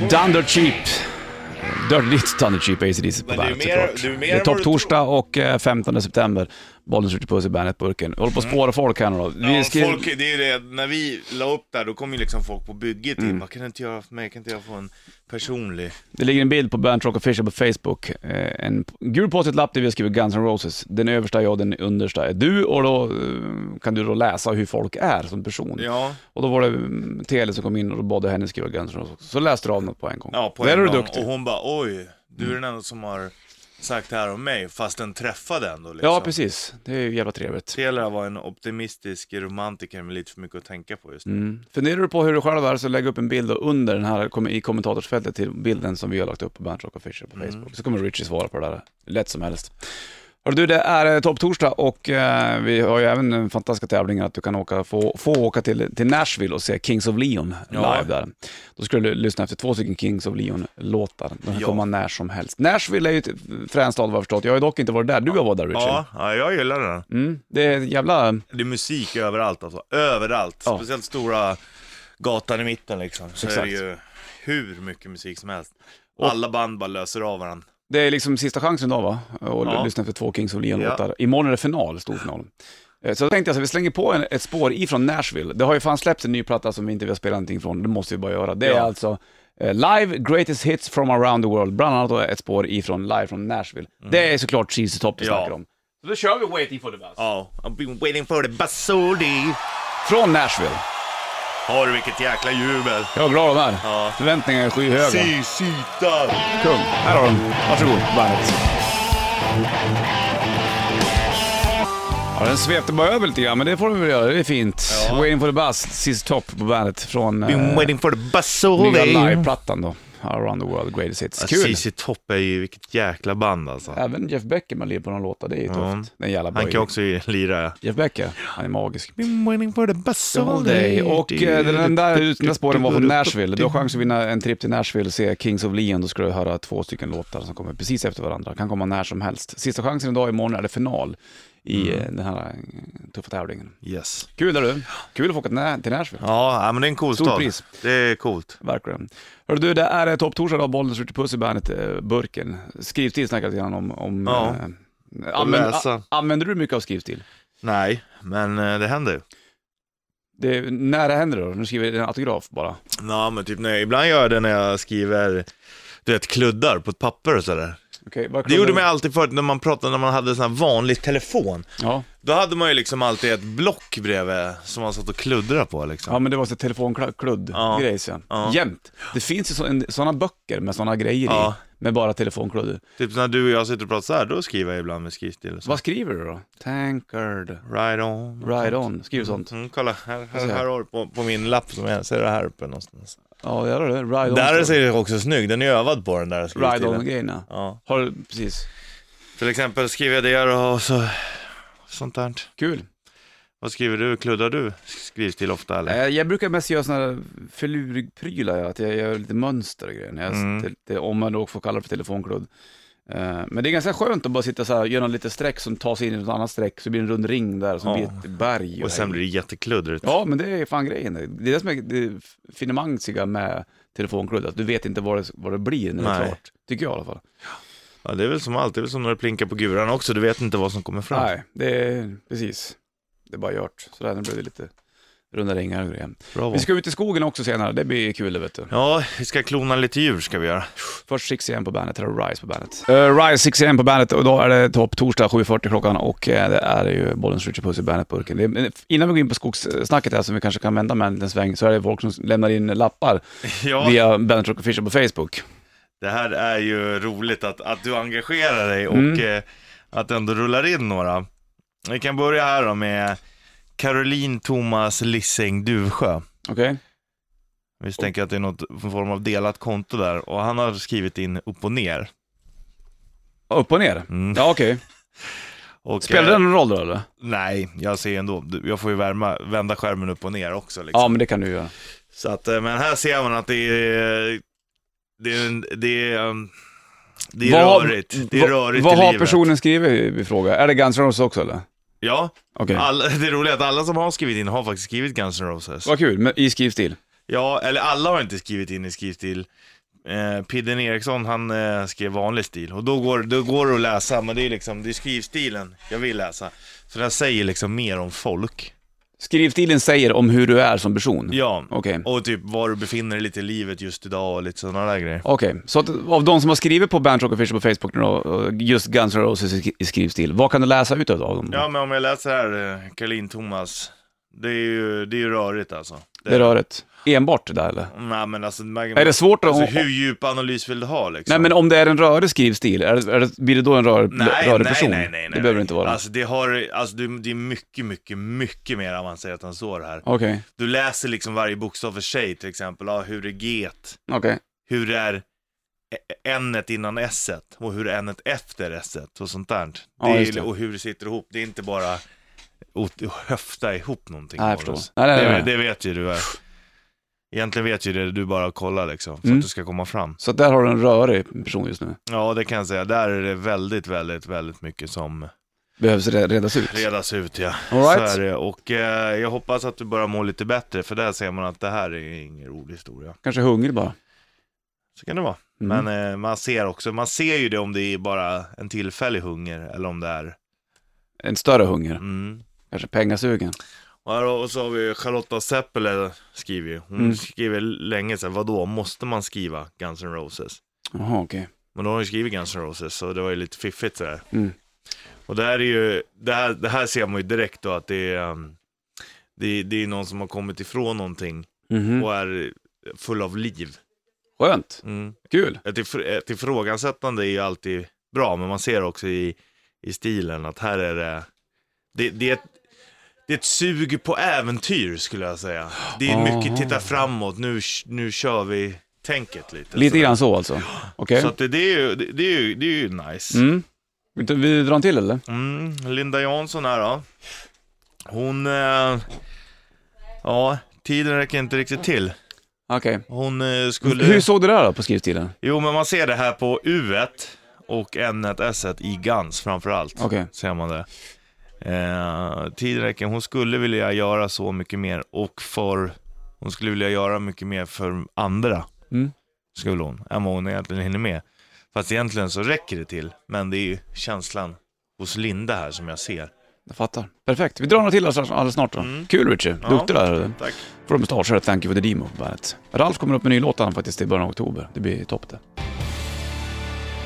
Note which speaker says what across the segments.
Speaker 1: Dunder Cheap. Dödligt Dunder Cheap AC/DC på
Speaker 2: Men det är ju
Speaker 1: bandet
Speaker 2: mer-
Speaker 1: såklart.
Speaker 2: det är ju mer
Speaker 1: Det är
Speaker 2: än vad du
Speaker 1: topptorsdag och eh, 15 september. Bollen skjuter puss i Bandet-burken. Håller på att spåra folk här nu då. Vi
Speaker 2: Mm. Ja,
Speaker 1: skrev-
Speaker 2: folk, det är ju det, när vi la upp där, då kom ju liksom folk på bygget
Speaker 1: Mm.
Speaker 2: in. Bara, kan inte jag ha haft mig? Kan inte jag få en personlig?
Speaker 1: Det ligger en bild på Bernt Rock Official på Facebook. Eh, En gul post lapp där vi har skrivit Guns N' Roses. Den översta är jag, den understa är du och då eh, kan du då läsa hur folk är som person.
Speaker 2: Ja,
Speaker 1: Och då var det mm, Tele som kom in och då bad jag henne skriva Guns N' Roses också. Så läste du av något på en gång.
Speaker 2: ja på
Speaker 1: Där
Speaker 2: en
Speaker 1: är du
Speaker 2: gång.
Speaker 1: duktig. Mm.
Speaker 2: Och hon bara, oj, du är den enda som har sagt det här om mig, fast den träffade ändå liksom.
Speaker 1: Ja, precis. Det är ju jävla trevligt.
Speaker 2: Taylor var en optimistisk romantiker med lite för mycket att tänka på just nu.
Speaker 1: Mm. Funderar du på hur du själv är så lägg upp en bild då under den här kom- i kommentatorsfältet till bilden som vi har lagt upp på Bernt Rock Official på
Speaker 2: Mm.
Speaker 1: Facebook. Så kommer Richie svara på det där lätt som helst. Hör du, det är eh, topptorsdag och eh, vi har ju även den fantastiska tävlingen att du kan åka, få, få åka till, till Nashville och se Kings of Leon
Speaker 2: Ja.
Speaker 1: live där. Då skulle du lyssna efter två stycken Kings of Leon-låtar. De kan
Speaker 2: Ja.
Speaker 1: komma när som helst. Nashville är ju ett fränt stad vad jag har förstått. Jag har ju dock inte varit där. Du har varit där Richie.
Speaker 2: Ja, ja, jag gillar den.
Speaker 1: Mm. Det är jävla...
Speaker 2: Det är musik överallt alltså, överallt.
Speaker 1: Ja.
Speaker 2: Speciellt stora gatan i mitten liksom. Så är
Speaker 1: Exakt.
Speaker 2: det ju hur mycket musik som helst.
Speaker 1: Och-
Speaker 2: Alla band bara löser av varandra.
Speaker 1: Det är liksom sista chansen idag va? Och
Speaker 2: Ja.
Speaker 1: lyssna för två Kings of Leon-låtar. Imorgon är det final, storfinal. Eh, Så då tänkte jag så här, vi slänger på en, ett spår ifrån Nashville. Det har ju fan släppts en ny platta som vi inte vill spela någonting från, det måste vi bara göra. Det är
Speaker 2: Ja.
Speaker 1: alltså eh, Live Greatest Hits from around the world, bland annat då ett spår ifrån Live från Nashville. Det är såklart Cheesy Top vi
Speaker 2: Mm. Ja.
Speaker 1: snackar om. Så då kör vi Waiting for the Bus.
Speaker 2: Ja, I've been waiting for the basoli.
Speaker 1: Från Nashville.
Speaker 2: Har du vilket jäkla jubel.
Speaker 1: Jag är glad de är.
Speaker 2: Ja.
Speaker 1: Förväntningarna är skyhöga.
Speaker 2: Si, sita.
Speaker 1: Kung. Här har du den. Varsågod, bandet. Ja, den svepte bara över lite grann, men det får vi väl göra. Det är fint.
Speaker 2: Ja.
Speaker 1: Waiting for the bus, sist topp på bandet från
Speaker 2: Been
Speaker 1: eh,
Speaker 2: waiting for the
Speaker 1: nya
Speaker 2: basoli.
Speaker 1: liveplattan då. Around the world, greatest hits. Kul!
Speaker 2: CC Topp är ju vilket jäkla band alltså.
Speaker 1: Även Jeff Becker man lirar på någon låta, det är ju tufft.
Speaker 2: Mm.
Speaker 1: Det är en jävla
Speaker 2: Han
Speaker 1: böjning.
Speaker 2: kan också lira.
Speaker 1: Jeff Becker, han är magisk.
Speaker 2: Been waiting for the
Speaker 1: All day. Och eh, den där, ut- den där spåren var från Nashville. Du har chans att vinna en trip till Nashville och se Kings of Leon. Då ska du höra två stycken låtar som kommer precis efter varandra. Kan komma när som helst. Sista chansen idag, imorgon är det final i
Speaker 2: Mm.
Speaker 1: eh, den här eh, tuffa tävlingen.
Speaker 2: Yes.
Speaker 1: Kul är du. Kul att få åka till Na- till Nashville.
Speaker 2: Ja, ja, men det är en cool
Speaker 1: Stort
Speaker 2: stad.
Speaker 1: pris.
Speaker 2: Det är coolt.
Speaker 1: Verkligen. Hörru du, det är eh, topptorsdag idag. Bollnäs skjuter puss i bandet-burken. Skrivstil snackade lite grann om. om
Speaker 2: Ja.
Speaker 1: eh, använd-
Speaker 2: läsa.
Speaker 1: a- använder du mycket av skrivstil?
Speaker 2: Nej, men eh, det händer ju.
Speaker 1: Det, när det händer då? Nu skriver en autograf bara.
Speaker 2: Ja, men typ när jag, ibland gör jag det när jag skriver, du vet, kluddar på ett papper och sådär.
Speaker 1: Okej, vad
Speaker 2: Det
Speaker 1: kunde
Speaker 2: gjorde
Speaker 1: du-
Speaker 2: man alltid förut när man pratade, när man hade sån här vanlig telefon.
Speaker 1: Ja.
Speaker 2: Då hade man ju liksom alltid ett block bredvid som man satt och kluddrade på liksom.
Speaker 1: Ja men det var så telefonkludd-grejs
Speaker 2: Ja.
Speaker 1: ja. Grejsen.
Speaker 2: Ja.
Speaker 1: Jämt. Det finns ju så, en- såna böcker med såna grejer
Speaker 2: Ja.
Speaker 1: i, med bara telefonkludd.
Speaker 2: Typ när du och jag sitter och pratar såhär, då skriver jag ibland med skrivstil och så.
Speaker 1: Vad skriver du då? Tankard,
Speaker 2: Right on.
Speaker 1: ride on, skriver sånt.
Speaker 2: Mm, kolla, här, här,
Speaker 1: ser jag.
Speaker 2: här har du på, på min lapp som jag ser det här uppe någonstans.
Speaker 1: Ja, där har du det. Ride on.
Speaker 2: Där
Speaker 1: står det.
Speaker 2: ser det också snygg, den är övad på den där
Speaker 1: Ride
Speaker 2: skrivstilen.
Speaker 1: on-grejerna.
Speaker 2: Ja.
Speaker 1: Har du, precis.
Speaker 2: Till exempel skriver jag det och så, sånt där.
Speaker 1: Kul.
Speaker 2: Vad skriver du? Kluddar du skrivstil ofta eller?
Speaker 1: Eh, Jag brukar mest göra såna här filurprylar, ja, att jag gör lite mönster och grejer, när jag,
Speaker 2: Mm.
Speaker 1: till, till, om man då får kalla det för telefonkludd. Eh, Men det är ganska skönt att bara sitta så här, göra något litet streck som tar sig in i ett annat streck, så blir det en rund ring där, så
Speaker 2: Ja.
Speaker 1: blir det ett berg.
Speaker 2: Och sen
Speaker 1: hej.
Speaker 2: blir det jättekluddrigt.
Speaker 1: Ja, men det är fan grejen. Det är det som är det finemangsiga med telefonkludd, att du vet inte vad det, vad det blir när det är
Speaker 2: Nej.
Speaker 1: klart. Tycker jag i alla fall.
Speaker 2: Ja, det är väl som allt, det är väl som när det plinkar på guran också, du vet inte vad som kommer fram.
Speaker 1: Nej, det är precis. Det är bara gjort. Så där, nu blev det lite runda ringar och grejer.
Speaker 2: Bravo.
Speaker 1: Vi ska ut i skogen också senare, det blir kul det vet du.
Speaker 2: Ja, vi ska klona lite djur ska vi göra.
Speaker 1: Först 6 AM på bandet, här har Rise på bandet. Uh, Rise 6 AM på bandet och då är det topp torsdag 7.40 klockan och eh, det är ju Bollens Richard Puss i bandet-burken. Det är- men Innan vi går in på skogssnacket här som vi kanske kan vända med en liten sväng så är det folk som lämnar in lappar
Speaker 2: Ja,
Speaker 1: via Bandet Rock Official på Facebook.
Speaker 2: det här är ju roligt att, att du engagerar dig och
Speaker 1: Mm.
Speaker 2: eh, att du ändå rullar in några. Vi kan börja här då med Caroline Thomas Lissing Duvsjö.
Speaker 1: Okej?
Speaker 2: Vi tänker att det är något form av delat konto där och han har skrivit in upp och ner.
Speaker 1: Upp och ner?
Speaker 2: Mm.
Speaker 1: Ja, okej.
Speaker 2: Och,
Speaker 1: Spelar
Speaker 2: eh,
Speaker 1: det någon roll då eller?
Speaker 2: Nej, jag ser ändå. Du- Jag får ju värma, vända skärmen upp och ner också. Liksom.
Speaker 1: Ja, men det kan du göra.
Speaker 2: Så att, eh, men här ser man att det är... Det är, en- det är, um, det är
Speaker 1: Vad-
Speaker 2: rörigt. Det är
Speaker 1: vad-
Speaker 2: rörigt
Speaker 1: Vad
Speaker 2: i
Speaker 1: har
Speaker 2: livet.
Speaker 1: personen skrivit i fråga? Är det Guns N' Roses också eller?
Speaker 2: Ja,
Speaker 1: Okej.
Speaker 2: alla, det är roligt att alla som har skrivit in har faktiskt skrivit Guns N' Roses.
Speaker 1: Vad kul, men i skrivstil.
Speaker 2: Ja, eller alla har inte skrivit in i skrivstil. Eh, Pidden Eriksson, han eh, skrev vanlig stil. Och då går, då går det att läsa, men det är liksom, det är skrivstilen jag vill läsa. Så den säger liksom mer om folk.
Speaker 1: Skrivstilen säger om hur du är som person?
Speaker 2: Ja,
Speaker 1: Okej.
Speaker 2: och typ var du befinner dig lite i livet just idag och lite sådana där grejer.
Speaker 1: Okej, så att, av de som har skrivit på Bandrock Official på Facebook nu då, och just Guns N' Roses i- i skrivstil, vad kan du läsa ut av dem?
Speaker 2: Ja, men om jag läser här, eh, Caroline Thomas, det är ju, det är ju rörigt alltså.
Speaker 1: det röret. Enbart det där eller?
Speaker 2: Nej men alltså, man,
Speaker 1: Är det svårt att...
Speaker 2: alltså hur djup analys vill du ha liksom?
Speaker 1: Nej men om det är en rörig skrivstil, är det, är det, blir det då en rör, rörig person?
Speaker 2: Nej, nej, nej, nej.
Speaker 1: Det behöver det inte vara.
Speaker 2: Alltså det, har, alltså det, det är mycket, mycket, mycket mer avancerat än så det här.
Speaker 1: Okej,
Speaker 2: Du läser liksom varje bokstav för sig till exempel. Ja, hur är get?
Speaker 1: okej.
Speaker 2: Hur är ä- n-et innan s-et? Och hur är n-et efter s-et? Och sånt där. Det
Speaker 1: Ja,
Speaker 2: är,
Speaker 1: just det.
Speaker 2: Och hur det sitter ihop. Det är inte bara att höfta ihop någonting.
Speaker 1: Nej, jag
Speaker 2: Boris.
Speaker 1: förstår. Nej, nej, nej.
Speaker 2: alltså. Det, det vet ju du. Är. Egentligen vet ju det du bara kollar liksom, för
Speaker 1: Mm.
Speaker 2: att du ska komma fram.
Speaker 1: Så att där har du en rörig person just nu.
Speaker 2: Ja, det kan jag säga. Där är det väldigt, väldigt, väldigt mycket som
Speaker 1: Behövs re- redas ut.
Speaker 2: redas ut ja.
Speaker 1: All right.
Speaker 2: Så är det. Och eh, jag hoppas att du börjar må lite bättre, för där ser man att det här är ingen rolig historia.
Speaker 1: Kanske hungrig bara.
Speaker 2: Så kan det vara.
Speaker 1: Mm.
Speaker 2: Men eh, man ser också, man ser ju det om det är bara en tillfällig hunger, eller om det är...
Speaker 1: En större hunger.
Speaker 2: Mm.
Speaker 1: Kanske pengasugen.
Speaker 2: Och, här, och så har vi Charlotta Seppele skriver ju. Hon
Speaker 1: Mm.
Speaker 2: skriver länge sedan, vadå, måste man skriva Guns N' Roses?
Speaker 1: Jaha, okej.
Speaker 2: Men då har hon ju skrivit Guns N' Roses, så det var ju lite fiffigt sådär.
Speaker 1: Mm.
Speaker 2: Och det här är ju, det här, det här ser man ju direkt då att det är, um, det, det är någon som har kommit ifrån någonting
Speaker 1: Mhm.
Speaker 2: och är full av liv.
Speaker 1: Skönt. Kul.
Speaker 2: Ett, if- ett ifrågasättande är ju alltid bra, men man ser också i, i stilen att här är det, det, det, är ett, det är ett sug på äventyr skulle jag säga. Det är
Speaker 1: Ah.
Speaker 2: mycket titta framåt, nu, nu kör vi tänket lite.
Speaker 1: Lite
Speaker 2: sådär.
Speaker 1: grann så alltså. Okej.
Speaker 2: Så att det, det, är ju, det, det, är ju, det är ju nice.
Speaker 1: Mm. Vill du- Vill du dra en till eller?
Speaker 2: Mm, Linda Jansson här då. Hon... Eh, ja, tiden räcker inte riktigt till.
Speaker 1: Okej.
Speaker 2: Hon eh, skulle...
Speaker 1: Hur såg du det där då på skrivstilen?
Speaker 2: Jo, men man ser det här på U1 och N1 S1 i Guns framförallt.
Speaker 1: Okej.
Speaker 2: Ser man det. Eh, tiden räcker. Hon skulle vilja göra så mycket mer och för... Hon skulle vilja göra mycket mer för andra,
Speaker 1: Mm.
Speaker 2: skulle hon, än vad hon egentligen hinner med. Fast egentligen så räcker det till, men det är ju känslan hos Linda här som jag ser.
Speaker 1: Jag fattar. Perfekt. Vi drar några till alldeles alldeles snart då.
Speaker 2: Mm.
Speaker 1: Kul Richie.
Speaker 2: Ja.
Speaker 1: Duktig där.
Speaker 2: Tack.
Speaker 1: Får de starta här, Thank You For The Demo på bandet. Ralf kommer upp med en ny låt han faktiskt i början av oktober. Det blir topp det.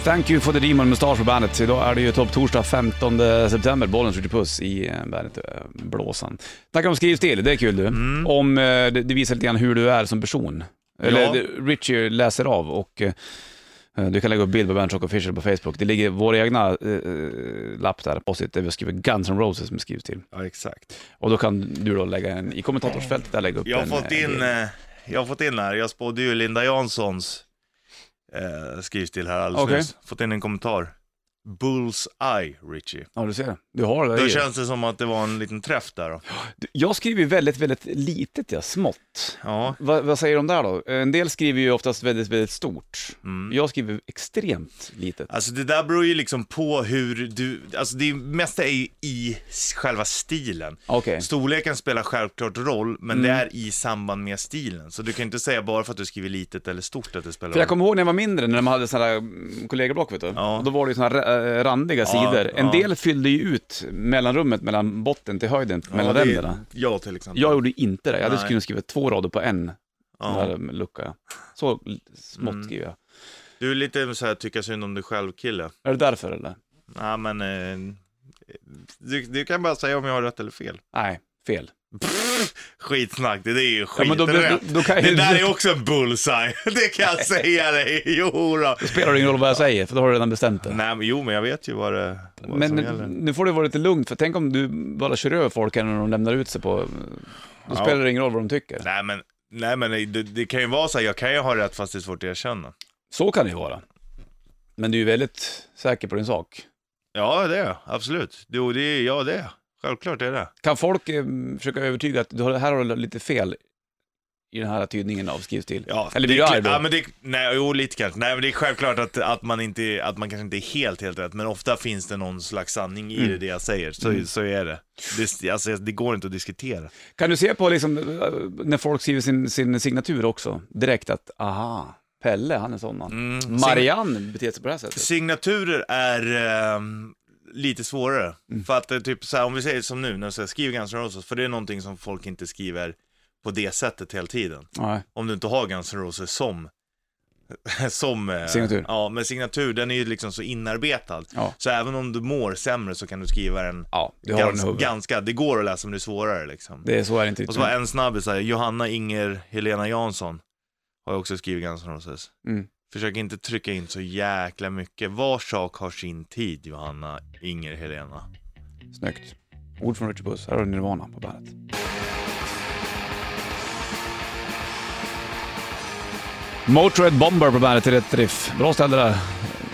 Speaker 1: Thank you for the Demon Mustache på bandet. Idag är det ju topp torsdag 15 september. Bollens Ritchie Puss i eh, bandet eh, Blåsan. Tack om skrivs till, det är kul du.
Speaker 2: Mm.
Speaker 1: Om, eh, det, det visar lite grann hur du är som person. Eller
Speaker 2: Ja.
Speaker 1: det- Richie läser av och eh, du kan lägga upp bild på Bandrock Official på Facebook. Det ligger vår egna eh, eh, lapp där, post där vi skriver Guns N' Roses som skrivs till.
Speaker 2: Ja, exakt.
Speaker 1: Och då kan du då lägga en, i kommentatorsfältet där lägga upp
Speaker 2: Jag har
Speaker 1: en,
Speaker 2: fått
Speaker 1: eh,
Speaker 2: in, eh, jag har fått in här, jag spådde ju Linda Janssons eh, skrivstil här alldeles
Speaker 1: Okej.
Speaker 2: nyss. Fått in en kommentar. Bulls eye, Richie.
Speaker 1: Ja, du ser. Du har det.
Speaker 2: Då
Speaker 1: i.
Speaker 2: känns det som att det var en liten träff där då.
Speaker 1: Du, Jag skriver ju väldigt, väldigt litet, ja, smått.
Speaker 2: Ja.
Speaker 1: Va, vad säger de där då? En del skriver ju oftast väldigt, väldigt stort.
Speaker 2: Mm.
Speaker 1: Jag skriver extremt litet.
Speaker 2: Alltså det där beror ju liksom på hur du, alltså det mesta är ju i själva stilen.
Speaker 1: Okej.
Speaker 2: Storleken spelar självklart roll,
Speaker 1: Mm.
Speaker 2: men det är i samband med stilen. Så du kan inte säga bara för att du skriver litet eller stort att det spelar
Speaker 1: För jag
Speaker 2: roll.
Speaker 1: kommer ihåg när jag var mindre, när man hade sådana här mm, kollegieblock, vet du.
Speaker 2: Ja.
Speaker 1: Och Då var det ju sådana här eh, randiga sidor. En
Speaker 2: ja.
Speaker 1: del fyllde ju ut mellanrummet mellan botten till höjden, mellan
Speaker 2: det-
Speaker 1: ränderna.
Speaker 2: Ja, till exempel.
Speaker 1: Jag gjorde ju inte det. Jag hade
Speaker 2: Nej.
Speaker 1: kunnat skriva två rader på en
Speaker 2: Ja.
Speaker 1: ja. lucka. Så l- smått
Speaker 2: Mm.
Speaker 1: skriver jag.
Speaker 2: Du är lite så här tycka synd om dig själv kille.
Speaker 1: Är det därför eller?
Speaker 2: Ja men, eh, du, du kan bara säga om jag har rätt eller fel.
Speaker 1: Nej, fel.
Speaker 2: Skitsnack, det, det är ju
Speaker 1: Ja, men då, då,
Speaker 2: skiträtt.
Speaker 1: då kan jag
Speaker 2: Det
Speaker 1: ju...
Speaker 2: där är också en bullseye, det kan jag säga dig. Jo, då.
Speaker 1: spelar det ingen roll vad jag säger, för då har du redan bestämt det.
Speaker 2: Nej, men, jo men jag vet ju vad det vad
Speaker 1: Men
Speaker 2: som gäller.
Speaker 1: nu får du vara lite lugn, för tänk om du bara kör över folk här när de lämnar ut sig på... Då
Speaker 2: Ja.
Speaker 1: spelar det ingen roll vad de tycker.
Speaker 2: Nej men, nej, men det, det kan ju vara så här, jag kan ju ha rätt fast det är svårt att erkänna.
Speaker 1: Så kan det ju vara. Men du är ju väldigt säker på din sak.
Speaker 2: Ja det är jag, absolut. Jo, det är, ja det är jag. Självklart är det.
Speaker 1: Kan folk eh, försöka övertyga att du har, här har du lite fel i den här tydningen av skrivstil?
Speaker 2: Ja,
Speaker 1: Eller blir
Speaker 2: det, är
Speaker 1: du
Speaker 2: kl-
Speaker 1: arg då?
Speaker 2: Ja, men det, nej, jo, lite kanske. Nej, men det är självklart att, att, man inte, att man kanske inte är helt, helt rätt, men ofta finns det någon slags sanning i
Speaker 1: Mm.
Speaker 2: det, det jag säger. Så, så är det. Det, alltså, det går inte att diskutera.
Speaker 1: Typ. Kan du se på liksom, eh, när folk skriver sin, sin signatur också, direkt att aha, Pelle, han är sån han.
Speaker 2: Mm. Sign-
Speaker 1: Marianne beter sig på det här sättet.
Speaker 2: Signaturer är ehm, lite svårare.
Speaker 1: Mm.
Speaker 2: För att det är typ så här, om vi säger som nu, när jag skriver Guns N' Roses, för det är någonting som folk inte skriver på det sättet hela tiden.
Speaker 1: Nej.
Speaker 2: Om du inte har Guns N' Roses som som, eh,
Speaker 1: Signatur.
Speaker 2: Ja, men signatur, den är ju liksom så inarbetad.
Speaker 1: Ja.
Speaker 2: Så även om du mår sämre så kan du skriva den
Speaker 1: Ja, du har den i
Speaker 2: ganska,
Speaker 1: huvudet.
Speaker 2: ganska, det går att läsa men det är svårare liksom.
Speaker 1: Det är så är typ- det inte.
Speaker 2: Och så var en snabbis här, Johanna Inger Helena Jansson har jag också skrivit Guns N' Roses.
Speaker 1: Mm.
Speaker 2: Försök inte trycka in så jäkla mycket. Var sak har sin tid, Johanna Inger Helena.
Speaker 1: Snyggt. Ord från Richard Puss. Här har du Nirvana på bandet. Motörhead Bomber på bandet till rätt riff. Bra ställe där.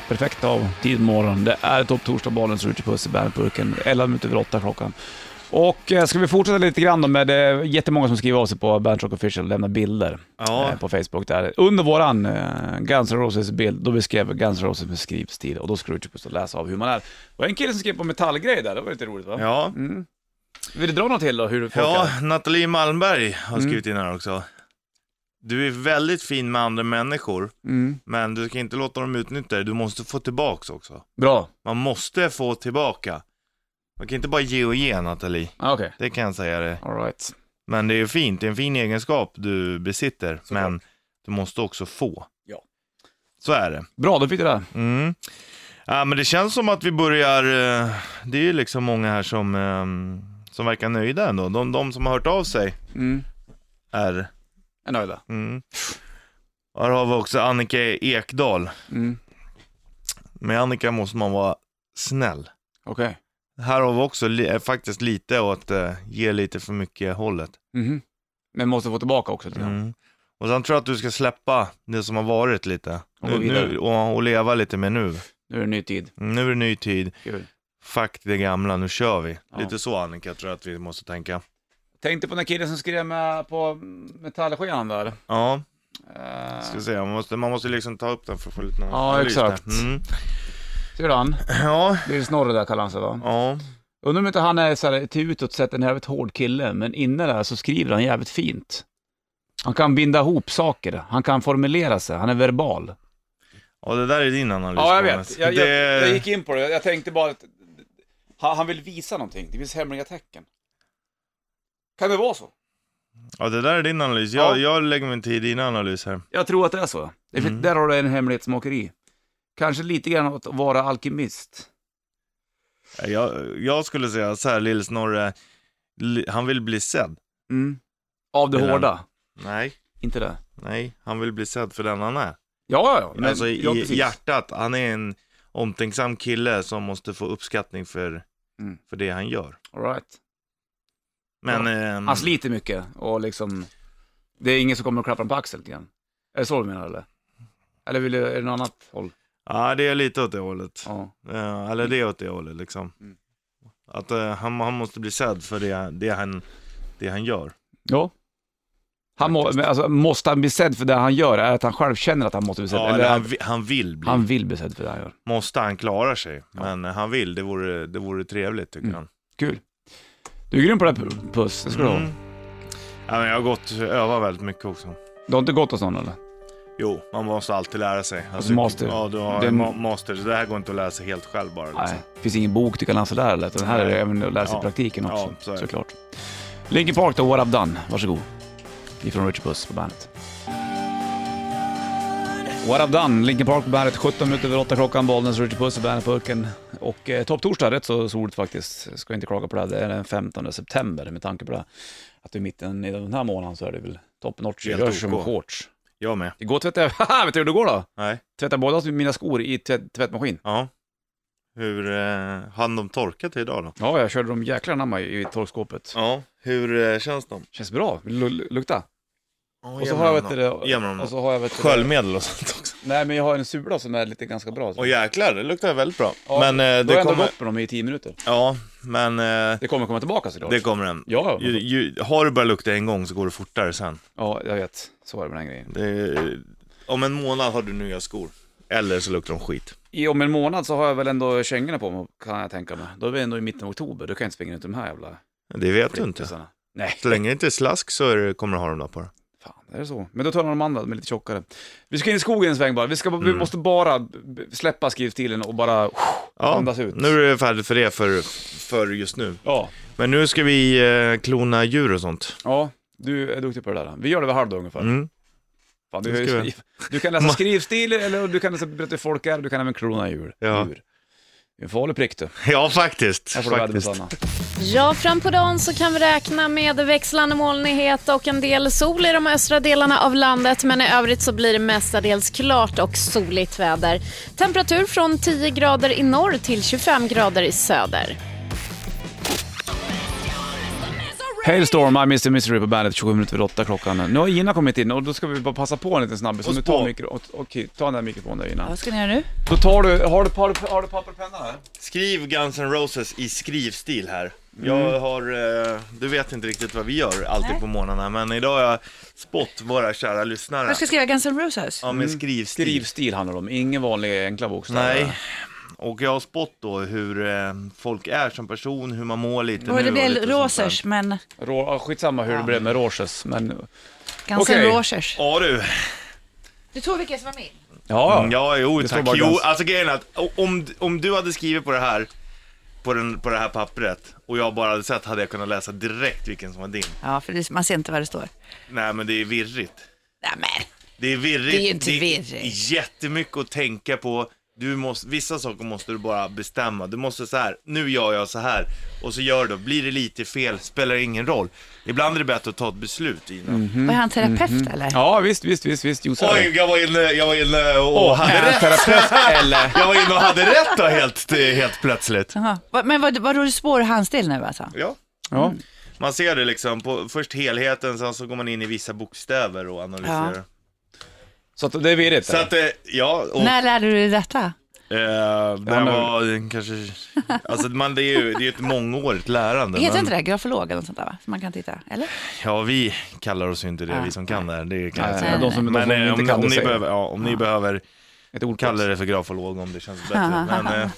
Speaker 1: Perfekt av tid morgon. Det är topp torsdag Bollens Richard Puss i bandetburken. 11 minuter över 8 klockan. Och eh, ska vi fortsätta lite grann då med det jättemånga som skriver av sig på Bandit Rock Official och lämnar bilder
Speaker 2: Ja,
Speaker 1: eh, på Facebook där. Under våran eh, Guns N' Roses-bild, då beskrev Guns N' Roses med skrivstil och då skulle Richard Puss läsa av hur man är. Och en kille som skrev på metallgrej där, det var lite roligt va?
Speaker 2: ja.
Speaker 1: Mm. Vill du dra något till då, hur folk
Speaker 2: ja
Speaker 1: är? Mm.
Speaker 2: Nathalie Malmberg har skrivit in här också. Du är väldigt fin med andra människor,
Speaker 1: Mm.
Speaker 2: men du ska inte låta dem utnyttja dig. Du måste få tillbaks också.
Speaker 1: Bra.
Speaker 2: Man måste få tillbaka. Man kan inte bara ge och ge, Nathalie.
Speaker 1: Ah, Okej.
Speaker 2: Det kan jag säga dig.
Speaker 1: All right.
Speaker 2: Men det är ju fint, det är en fin egenskap du besitter,
Speaker 1: Såklart.
Speaker 2: men du måste också få.
Speaker 1: Ja.
Speaker 2: Så är det.
Speaker 1: Bra, då fick du det.
Speaker 2: Mm. Ja, men det känns som att vi börjar, eh, det är ju liksom många här som, eh, som verkar nöjda ändå. De, de som har hört av sig
Speaker 1: Mm.
Speaker 2: är...
Speaker 1: Är nöjda.
Speaker 2: Mm. Här har vi också Annika Ekdahl.
Speaker 1: Mm.
Speaker 2: Med Annika måste man vara snäll.
Speaker 1: Okej.
Speaker 2: Här har vi också li, eh, faktiskt lite åt eh, ge lite för mycket hållet.
Speaker 1: Mhm. Men måste få tillbaka också lite grann.
Speaker 2: Mm. Och sen tror jag att du ska släppa det som har varit lite.
Speaker 1: Och
Speaker 2: nu,
Speaker 1: gå vidare.
Speaker 2: nu, och, och leva lite med nu.
Speaker 1: Nu är det en ny tid.
Speaker 2: Nu är det ny tid,
Speaker 1: Kul.
Speaker 2: fuck det gamla, nu kör vi.
Speaker 1: Ja.
Speaker 2: Lite så Annika tror jag att vi måste tänka.
Speaker 1: Tänkte på den killen som skrev med på metallskivan där.
Speaker 2: Ja,
Speaker 1: Eh,
Speaker 2: ska se, man måste, man måste liksom ta upp den för att få lite
Speaker 1: Ja,
Speaker 2: analys där.
Speaker 1: exakt.
Speaker 2: Mm.
Speaker 1: Ser du han?
Speaker 2: Ja,
Speaker 1: Lill-Snorre där kallar han sig va?
Speaker 2: ja.
Speaker 1: Undrar om inte han är så här, till utåt sett en jävligt hård kille, men inne där så skriver han jävligt fint. Han kan binda ihop saker, han kan formulera sig, han är verbal.
Speaker 2: ja det där är din analys
Speaker 1: Ja, jag
Speaker 2: Thomas.
Speaker 1: vet. Jag,
Speaker 2: det...
Speaker 1: jag, jag gick in på det. Jag tänkte bara att han, han vill visa någonting. Det finns hemliga tecken. Kan det vara så?
Speaker 2: Ja, det där är din analys. Jag,
Speaker 1: Ja.
Speaker 2: jag lägger min tid i dina analyser.
Speaker 1: Jag tror att det är så. Det fin-
Speaker 2: Mm.
Speaker 1: Där har du en hemlighetsmakeri. Kanske lite grann att vara alkemist.
Speaker 2: Jag, jag skulle säga så här, Lill-Snorre, li- han vill bli sedd.
Speaker 1: Mm. Av det
Speaker 2: Eller-
Speaker 1: hårda.
Speaker 2: Nej,
Speaker 1: Inte det?
Speaker 2: nej, han vill bli sedd för den han är.
Speaker 1: Ja, ja, ja. Men,
Speaker 2: alltså i
Speaker 1: ja, precis.
Speaker 2: hjärtat, han är en omtänksam kille som måste få uppskattning för,
Speaker 1: Mm.
Speaker 2: för det han gör.
Speaker 1: All right.
Speaker 2: Men,
Speaker 1: Ja.
Speaker 2: ehm,
Speaker 1: Han sliter mycket och liksom... Det är ingen som kommer att klappa honom på axeln igen. Är det så du menar eller? Eller vill du, är det något annat håll?
Speaker 2: ja, det är lite åt det hållet.
Speaker 1: Ja.
Speaker 2: Eh, eller det är åt det hållet liksom.
Speaker 1: Mm.
Speaker 2: Att eh, han, han måste bli sedd för det, det, han, det han gör.
Speaker 1: Ja. Han må,
Speaker 2: Faktiskt.
Speaker 1: men alltså, måste han bli sedd för det han gör? Är det att han själv känner att han måste bli sedd?
Speaker 2: Ja, eller han, vi- han vill bli.
Speaker 1: han vill bli sedd för det han gör.
Speaker 2: Måste han klara sig. Men eh, han vill, det vore, det vore trevligt tycker
Speaker 1: Mm.
Speaker 2: han.
Speaker 1: Kul. Du är grym på det här Pu- Puss, det ska du ha.
Speaker 2: Mm. Ja, men jag har gått övat väldigt mycket också.
Speaker 1: Du har inte gått hos någon eller?
Speaker 2: Jo, man måste alltid lära sig.
Speaker 1: Alltså, master.
Speaker 2: Ja, du har
Speaker 1: Det är-
Speaker 2: ma- master. Så det här går inte att läsa helt själv bara. Liksom.
Speaker 1: Nej. Det finns ingen bok du kan läsa där eller? Utan här är det
Speaker 2: Nej.
Speaker 1: även att läsa i
Speaker 2: Ja.
Speaker 1: praktiken också.
Speaker 2: Ja, så är det.
Speaker 1: såklart. Linkin Park då, What I've Done. Varsågod. Ifrån Richard Puss på bandet. What I've Done, Linkin Park på bandet. 17 minuter över 8 klockan, Bollnäs, Richard Puss i bandetburken. Och eh, topptorsdag, rätt så soligt faktiskt. Ska inte klaga på det. här. Det är den 15 september med tanke på det. Att i mitten i den här månaden så är det väl top notch. Det
Speaker 2: Helt
Speaker 1: görs som
Speaker 2: OK.
Speaker 1: shorts.
Speaker 2: Jag med.
Speaker 1: Igår tvättade jag, haha, vet du hur det går då?
Speaker 2: Nej.
Speaker 1: Tvättade båda mina skor i tvätt, tvättmaskin.
Speaker 2: Ja. Hur eh, hann de torka till idag då?
Speaker 1: Ja, jag körde dem jäklar anamma i i torkskåpet.
Speaker 2: Ja. Hur eh, känns de?
Speaker 1: Känns bra, vill du lu- lukta?
Speaker 2: Oh,
Speaker 1: Och så har jag vet du det, och så har jag vet du det-
Speaker 2: Sköljmedel och sånt också.
Speaker 1: Nej men jag har en sula som är lite ganska bra. Så.
Speaker 2: Och jäklar, det luktar väldigt bra.
Speaker 1: Ja,
Speaker 2: men
Speaker 1: Då
Speaker 2: eh,
Speaker 1: har
Speaker 2: det
Speaker 1: jag ändå
Speaker 2: kommer...
Speaker 1: gått med dem i 10 minuter.
Speaker 2: Ja, men eh,
Speaker 1: Det kommer komma tillbaka såklart.
Speaker 2: det kommer den.
Speaker 1: Ja,
Speaker 2: Ju, ju, har du börjat lukta en gång så går det fortare sen.
Speaker 1: ja, jag vet. Så är det med den grejen.
Speaker 2: Det, om en månad har du nya skor. Eller så luktar de skit.
Speaker 1: I, om en månad så har jag väl ändå kängorna på mig, kan jag tänka mig. Då är vi ändå i mitten av oktober, då kan jag inte springa runt i de här jävla
Speaker 2: Det vet du inte.
Speaker 1: flippisarna. Nej,
Speaker 2: Så länge det inte är slask så är det, kommer du ha dem där på dig.
Speaker 1: fan. Är det så? Men då tar man de andra, de är lite tjockare. Vi ska in i skogen en sväng bara. Vi, ska,
Speaker 2: Mm.
Speaker 1: vi måste bara b- släppa skrivstilen och bara andas ut.
Speaker 2: nu är det färdigt för det för, för just nu.
Speaker 1: Ja.
Speaker 2: Men nu ska vi eh, klona djur och sånt.
Speaker 1: ja, du är duktig på det där. Vi gör det vid halv då ungefär.
Speaker 2: Mm.
Speaker 1: Fan,
Speaker 2: det
Speaker 1: du,
Speaker 2: ska
Speaker 1: är,
Speaker 2: vi.
Speaker 1: du kan läsa skrivstil, eller du kan läsa berätta hur folk är, du kan även klona djur.
Speaker 2: Ja.
Speaker 1: djur. Det är En farlig prick du.
Speaker 2: Ja, faktiskt.
Speaker 1: Här får du vädret,
Speaker 2: faktiskt.
Speaker 1: Sanna.
Speaker 3: Ja, fram på dagen så kan vi räkna med växlande molnighet och en del sol i de östra delarna av landet. Men i övrigt så blir det mestadels klart och soligt väder. Temperatur från 10 grader i norr till 25 grader i söder.
Speaker 1: Hailstorm, I Mr Mystery på bandet, 27 minuter över 8 klockan. Nu har Gina kommit in och då ska vi bara passa på en liten snabbis. Så
Speaker 2: Och
Speaker 1: nu
Speaker 2: spå.
Speaker 1: ta, mikro, och, okej, ta den där mikrofonen där Gina.
Speaker 4: Vad ska ni göra nu?
Speaker 1: Då tar du, har du, har du, har du papper och penna här?
Speaker 2: Skriv Guns N' Roses i skrivstil här. Jag har, eh, du vet inte riktigt vad vi gör alltid
Speaker 4: Nej.
Speaker 2: på morgnarna, men idag har jag spått våra kära lyssnare.
Speaker 4: Jag ska skriva Guns N' Roses.
Speaker 2: Ja, med skrivstil.
Speaker 1: Mm. Skrivstil handlar det om, ingen vanliga enkla bokstäver.
Speaker 2: Nej. Och jag har spått då hur eh, folk är som person, hur man mår lite
Speaker 4: Och
Speaker 2: nu
Speaker 4: det
Speaker 2: lite
Speaker 4: blir
Speaker 2: sånt där.
Speaker 4: Rosers, men
Speaker 1: Rå, ja, skitsamma hur det blev med Roses, men...
Speaker 4: Guns
Speaker 1: Okej.
Speaker 4: N' Rosers.
Speaker 2: Ja du.
Speaker 4: Du tog vilka som var min?
Speaker 1: Ja,
Speaker 2: Mm, Ja, jo
Speaker 1: Det står
Speaker 2: tack.
Speaker 1: bara
Speaker 2: Jo,
Speaker 1: Guns.
Speaker 2: alltså grejen är att o- om, om du hade skrivit på det här, på, den, på det här pappret, och jag bara hade sett, hade jag kunnat läsa direkt vilken som var din.
Speaker 4: Ja, för det, man ser inte vad det står.
Speaker 2: Nej, men det är virrigt.
Speaker 4: Nej, men.
Speaker 2: Det är virrigt.
Speaker 4: Det är ju inte virrigt.
Speaker 2: är jättemycket att tänka på. Du måste, vissa saker måste du bara bestämma. Du måste så här, nu gör jag så här. Och så gör du. Blir det lite fel, spelar ingen roll. Ibland är det bättre att ta ett beslut innan.
Speaker 1: Mm.
Speaker 4: Var han terapeut
Speaker 2: Mm-hmm.
Speaker 4: eller?
Speaker 1: ja visst, visst, visst, visst, Josef.
Speaker 2: Oj, jag var inne, jag var inne och hade
Speaker 1: är han
Speaker 2: rätt.
Speaker 1: terapeut eller?
Speaker 2: Jag var inne och hade rätt då helt, helt plötsligt.
Speaker 4: Jaha. Va- Men vad, vad du spår handstil nu alltså?
Speaker 2: Ja.
Speaker 1: Ja.
Speaker 2: Man ser det liksom, på först helheten, sen så går man in i vissa bokstäver och analyserar.
Speaker 4: Ja.
Speaker 1: Så att det är virrigt.
Speaker 2: Så att, eh, ja, och
Speaker 4: När lärde du dig detta?
Speaker 2: Eh, det
Speaker 1: Ja,
Speaker 2: här
Speaker 1: men-
Speaker 2: var eh, kanske, alltså man, det är ju det är ju ett mångårigt lärande.
Speaker 4: Heter
Speaker 2: men-
Speaker 4: inte det grafolog eller något sånt där va? Som man kan titta, eller?
Speaker 2: Ja, vi kallar oss ju inte det, vi som kan det här. Det kan jag
Speaker 1: Nej,
Speaker 2: säga.
Speaker 1: de som- de
Speaker 2: men
Speaker 1: som
Speaker 2: eh,
Speaker 1: inte
Speaker 2: om,
Speaker 1: kan
Speaker 2: om,
Speaker 1: det
Speaker 2: ni
Speaker 1: säger.
Speaker 2: behöver, ja, om ni behöver,
Speaker 1: Ett ord
Speaker 2: kalla det för grafolog om det känns bättre. men, eh,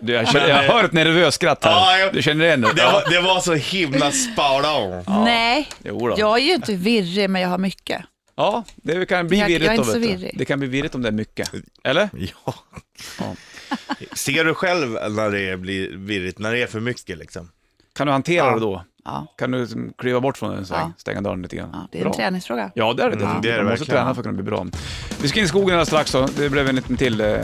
Speaker 1: Du, jag, känner, jag hör ett nervöst skratt
Speaker 2: Ja,
Speaker 1: här.
Speaker 2: jag-
Speaker 1: Du känner igen det?
Speaker 2: det, var, det var så himla spot on.
Speaker 4: Nej,
Speaker 1: Jo då.
Speaker 4: jag är ju inte virrig men jag har mycket.
Speaker 1: Ja, det kan bli
Speaker 4: Jag- jag är
Speaker 1: virrigt då,
Speaker 4: inte så
Speaker 1: vet du.
Speaker 4: virrig.
Speaker 1: Det kan bli virrigt om det är mycket. Eller?
Speaker 2: Ja.
Speaker 1: Ja.
Speaker 2: Ser du själv när det blir virrigt, när det är för mycket liksom?
Speaker 1: Kan du hantera det då?
Speaker 4: Ja,
Speaker 1: Kan du liksom kliva bort från den så
Speaker 4: Ja.
Speaker 1: stänga dörren lite grann?
Speaker 4: ja det är en
Speaker 1: Bra.
Speaker 4: träningsfråga.
Speaker 1: Ja, det är det
Speaker 2: Mm,
Speaker 1: definitivt.
Speaker 2: det är det
Speaker 1: Man måste
Speaker 2: verkligen.
Speaker 1: träna för att kunna bli bra. Vi ska in i skogen alldeles strax då. Det blev en liten till eh,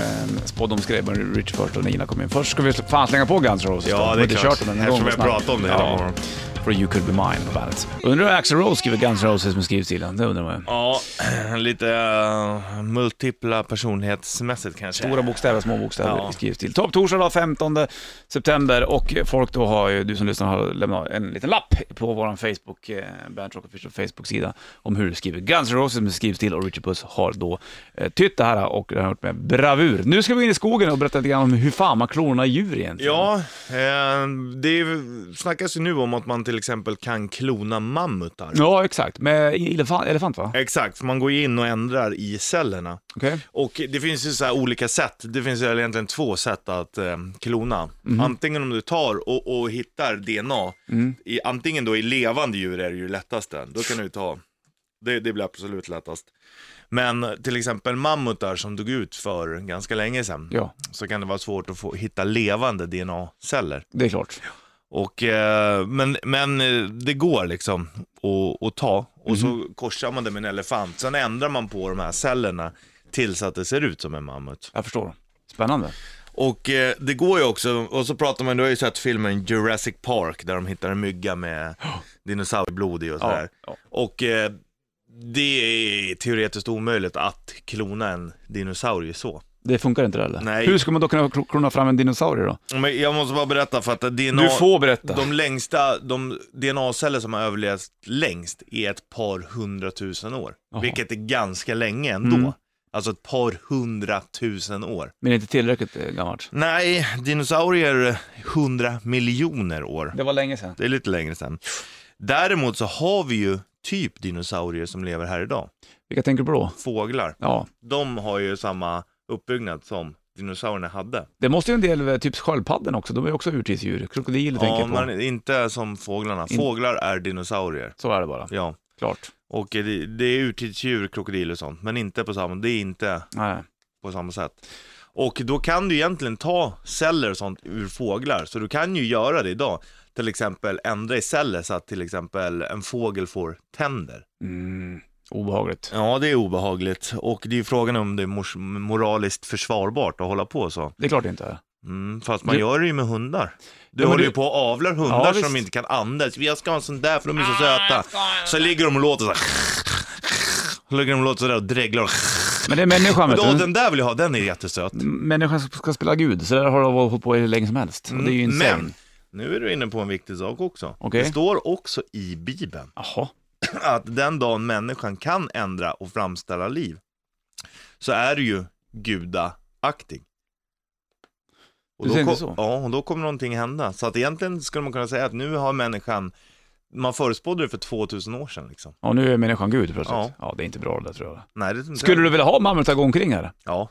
Speaker 1: spådomsgrej med Rich först och när Gina kom in. Först ska vi fan slänga på Guns N' Roses. då. De har inte kört dem en gång
Speaker 2: Eftersom jag
Speaker 1: snabbt.
Speaker 2: pratade om det hela
Speaker 1: Ja,
Speaker 2: morgonen.
Speaker 1: för You Could Be Mine på bandet. Undrar hur Axl Rose skriver Guns N' Roses med skrivstilen? Det undrar man ju.
Speaker 2: Ja, lite eh, multipla personlighetsmässigt kanske.
Speaker 1: Stora bokstäver, små bokstäver
Speaker 2: Ja.
Speaker 1: skrivs till. Topp torsdag då, 15 september och folk då har ju, du som lyssnar har lämnat en liten lapp på vår Facebook, eh, Band Rock Official Facebook-sida om hur du skriver. Guns N' Roses med skrivstil och Richard Puss har då eh, tytt det här och det har gjort med bravur. Nu ska vi in i skogen och berätta lite grann om hur fan man klonar djur egentligen.
Speaker 2: Ja, eh, det är- snackas ju nu om att man till exempel kan klona mammutar.
Speaker 1: Ja, exakt. Med elefant, elefant va?
Speaker 2: Exakt, för man går ju in och ändrar i cellerna.
Speaker 1: Okej.
Speaker 2: Och det finns ju så här olika sätt. Det finns ju egentligen två sätt att eh, klona.
Speaker 1: Mhm.
Speaker 2: Antingen om du tar och, och hittar DNA,
Speaker 1: Mm,
Speaker 2: i, antingen då i levande djur är det ju lättaste. Då kan du ta, det, det blir absolut lättast. Men till exempel mammutar som dog ut för ganska länge sedan,
Speaker 1: Ja,
Speaker 2: så kan det vara svårt att få, hitta levande DNA-celler.
Speaker 1: det är klart.
Speaker 2: Och, eh, men, men eh, det går liksom att, att ta och så korsar man det med en elefant. Sen ändrar man på de här cellerna tills att det ser ut som en mammut.
Speaker 1: Jag förstår. Spännande.
Speaker 2: Och eh, det går ju också, och så pratar man, du har ju sett filmen Jurassic Park där de hittar en mygga med dinosaurieblod i och sådär.
Speaker 1: ja.
Speaker 2: Och eh, det är teoretiskt omöjligt att klona en dinosaurie så.
Speaker 1: Det funkar inte det eller?
Speaker 2: Nej.
Speaker 1: Hur ska man då kunna klo- klona fram en dinosaurie då?
Speaker 2: Men jag måste bara berätta för att DNA...
Speaker 1: Du får berätta.
Speaker 2: De längsta, de DNA-celler som har överlevt längst är ett par hundratusen år.
Speaker 1: Jaha.
Speaker 2: Vilket är ganska länge ändå.
Speaker 1: Mm.
Speaker 2: Alltså ett par hundratusen år.
Speaker 1: Men inte tillräckligt eh, gammalt.
Speaker 2: Nej, dinosaurier eh, hundra miljoner år.
Speaker 1: Det var länge sedan.
Speaker 2: Det är lite längre sedan. Däremot så har vi ju typ dinosaurier som lever här idag.
Speaker 1: Vilka tänker du på då?
Speaker 2: Fåglar.
Speaker 1: Ja,
Speaker 2: De har ju samma uppbyggnad som dinosaurierna hade.
Speaker 1: det måste ju en del, eh, typ sköldpadden också, de är ju också urtidsdjur. Krokodiler tänker
Speaker 2: Ja,
Speaker 1: jag på.
Speaker 2: men inte som fåglarna.
Speaker 1: In-
Speaker 2: Fåglar är dinosaurier.
Speaker 1: Så är det bara.
Speaker 2: Ja.
Speaker 1: Klart.
Speaker 2: Och eh, det, det är urtidsdjur, krokodil och sånt, men inte på samma, det är inte
Speaker 1: Nej.
Speaker 2: på samma sätt. Och då kan du egentligen ta celler och sånt ur fåglar, så du kan ju göra det idag. Till exempel ändra i celler så att till exempel en fågel får tänder.
Speaker 1: Mm. Obehagligt.
Speaker 2: Ja, det är obehagligt och det är ju frågan om det är mors- moraliskt försvarbart att hålla på så.
Speaker 1: Det är klart det inte är.
Speaker 2: Mm, fast man
Speaker 1: Du-
Speaker 2: gör det ju med hundar. Du
Speaker 1: Ja, men
Speaker 2: håller
Speaker 1: du-
Speaker 2: ju på och avlar
Speaker 1: Ja,
Speaker 2: hundar som
Speaker 1: visst.
Speaker 2: inte kan andas. Jag ska ha en sån där för de är så söta. Så ligger de och låter så här. Så ligger de och låter sådär och dreglar. och-
Speaker 1: Men det är människan vet
Speaker 2: Då,
Speaker 1: du.
Speaker 2: den där vill jag ha, den är jättesöt.
Speaker 1: Människan ska- ska spela gud, så där har de hållit på hur länge som helst. Och det är ju
Speaker 2: Mm,
Speaker 1: insane.
Speaker 2: Men nu är du inne på en viktig sak också.
Speaker 1: Okej.
Speaker 2: Det står också i Bibeln
Speaker 1: Jaha.
Speaker 2: att den dagen människan kan ändra och framställa liv så är du ju gudaktig. Och
Speaker 1: Du
Speaker 2: då,
Speaker 1: säger
Speaker 2: kom,
Speaker 1: inte så?
Speaker 2: ja, och då kommer någonting hända. Så att egentligen skulle man kunna säga att nu har människan, man förutspådde det för 2000 år sedan liksom.
Speaker 1: Och nu är människan gud plötsligt. Ja.
Speaker 2: Ja.
Speaker 1: ja, det är inte bra det där, tror jag.
Speaker 2: Nej, det är inte
Speaker 1: Skulle du vilja ha mammut att gå omkring här?
Speaker 2: Ja,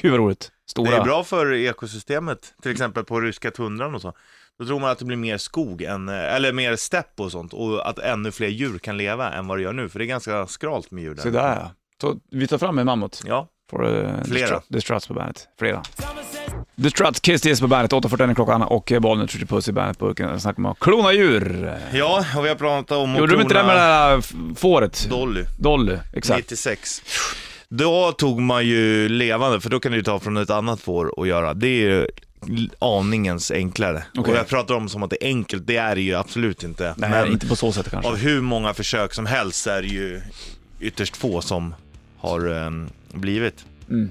Speaker 1: Gud vad roligt.
Speaker 2: det
Speaker 1: Stora.
Speaker 2: är bra för ekosystemet, till exempel på ryska tundran och så. Då tror man att det blir mer skog, än, eh, eller mer stepp och sånt, och att ännu fler djur kan leva än vad det gör nu, för det är ganska skralt med djur där.
Speaker 1: Så där ja. Så vi tar fram en mammut.
Speaker 2: Ja,
Speaker 1: Får uh,
Speaker 2: Flera.
Speaker 1: The Struts på bandet. Flera. The Struts, Kiss This på bandet. 8.41 är klockan och eh, bollen skjuter puss i bandet-burken. Snackar om att klona djur.
Speaker 2: Ja, och vi har pratat om
Speaker 1: Gjorde de inte det med det där f- fåret?
Speaker 2: Dolly,
Speaker 1: Dolly, exakt.
Speaker 2: 96. Då tog man ju levande, för då kan du ju ta från ett annat får och göra. Det är ju aningens enklare.
Speaker 1: Okej.
Speaker 2: Och jag pratar om som att det är enkelt, det är det ju absolut inte.
Speaker 1: Nej,
Speaker 2: Men
Speaker 1: inte på så sätt kanske.
Speaker 2: av hur många försök som helst är det ju ytterst få som har eh, blivit.
Speaker 1: Mm.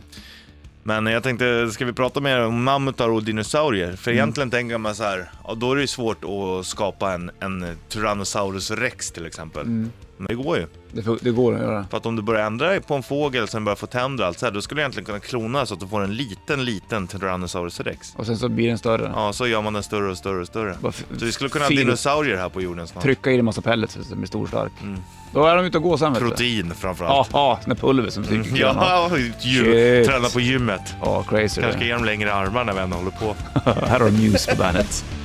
Speaker 2: Men jag tänkte, ska vi prata mer om mammutar och dinosaurier?
Speaker 1: Mm.
Speaker 2: För egentligen tänker man så här, ja, då är det ju svårt att skapa en, en Tyrannosaurus rex till exempel.
Speaker 1: Mm.
Speaker 2: Men det går ju.
Speaker 1: Det, får- det går att göra.
Speaker 2: För att om du börjar ändra på en fågel sen börjar få tänder och allt så här, då skulle du egentligen kunna klona så att du får en liten, liten Tyrannosaurus rex.
Speaker 1: Och sen så blir den större.
Speaker 2: Ja, så gör man den större och större och större.
Speaker 1: Bara f-
Speaker 2: Så vi skulle kunna ha
Speaker 1: fin-
Speaker 2: dinosaurier här på jorden snart.
Speaker 1: Trycka i en massa pellets så att den blir stor och stark.
Speaker 2: Mm.
Speaker 1: Då är de ute och går sen vet du.
Speaker 2: Protein
Speaker 1: Ja,
Speaker 2: framförallt.
Speaker 1: ja, sån där pulver som sticker. Ja,
Speaker 2: Ja, gym.
Speaker 1: Shit.
Speaker 2: träna på gymmet.
Speaker 1: ja crazy.
Speaker 2: Kanske
Speaker 1: det.
Speaker 2: ge dem längre armar när vi ändå håller på.
Speaker 1: Här har du Muse på bandet.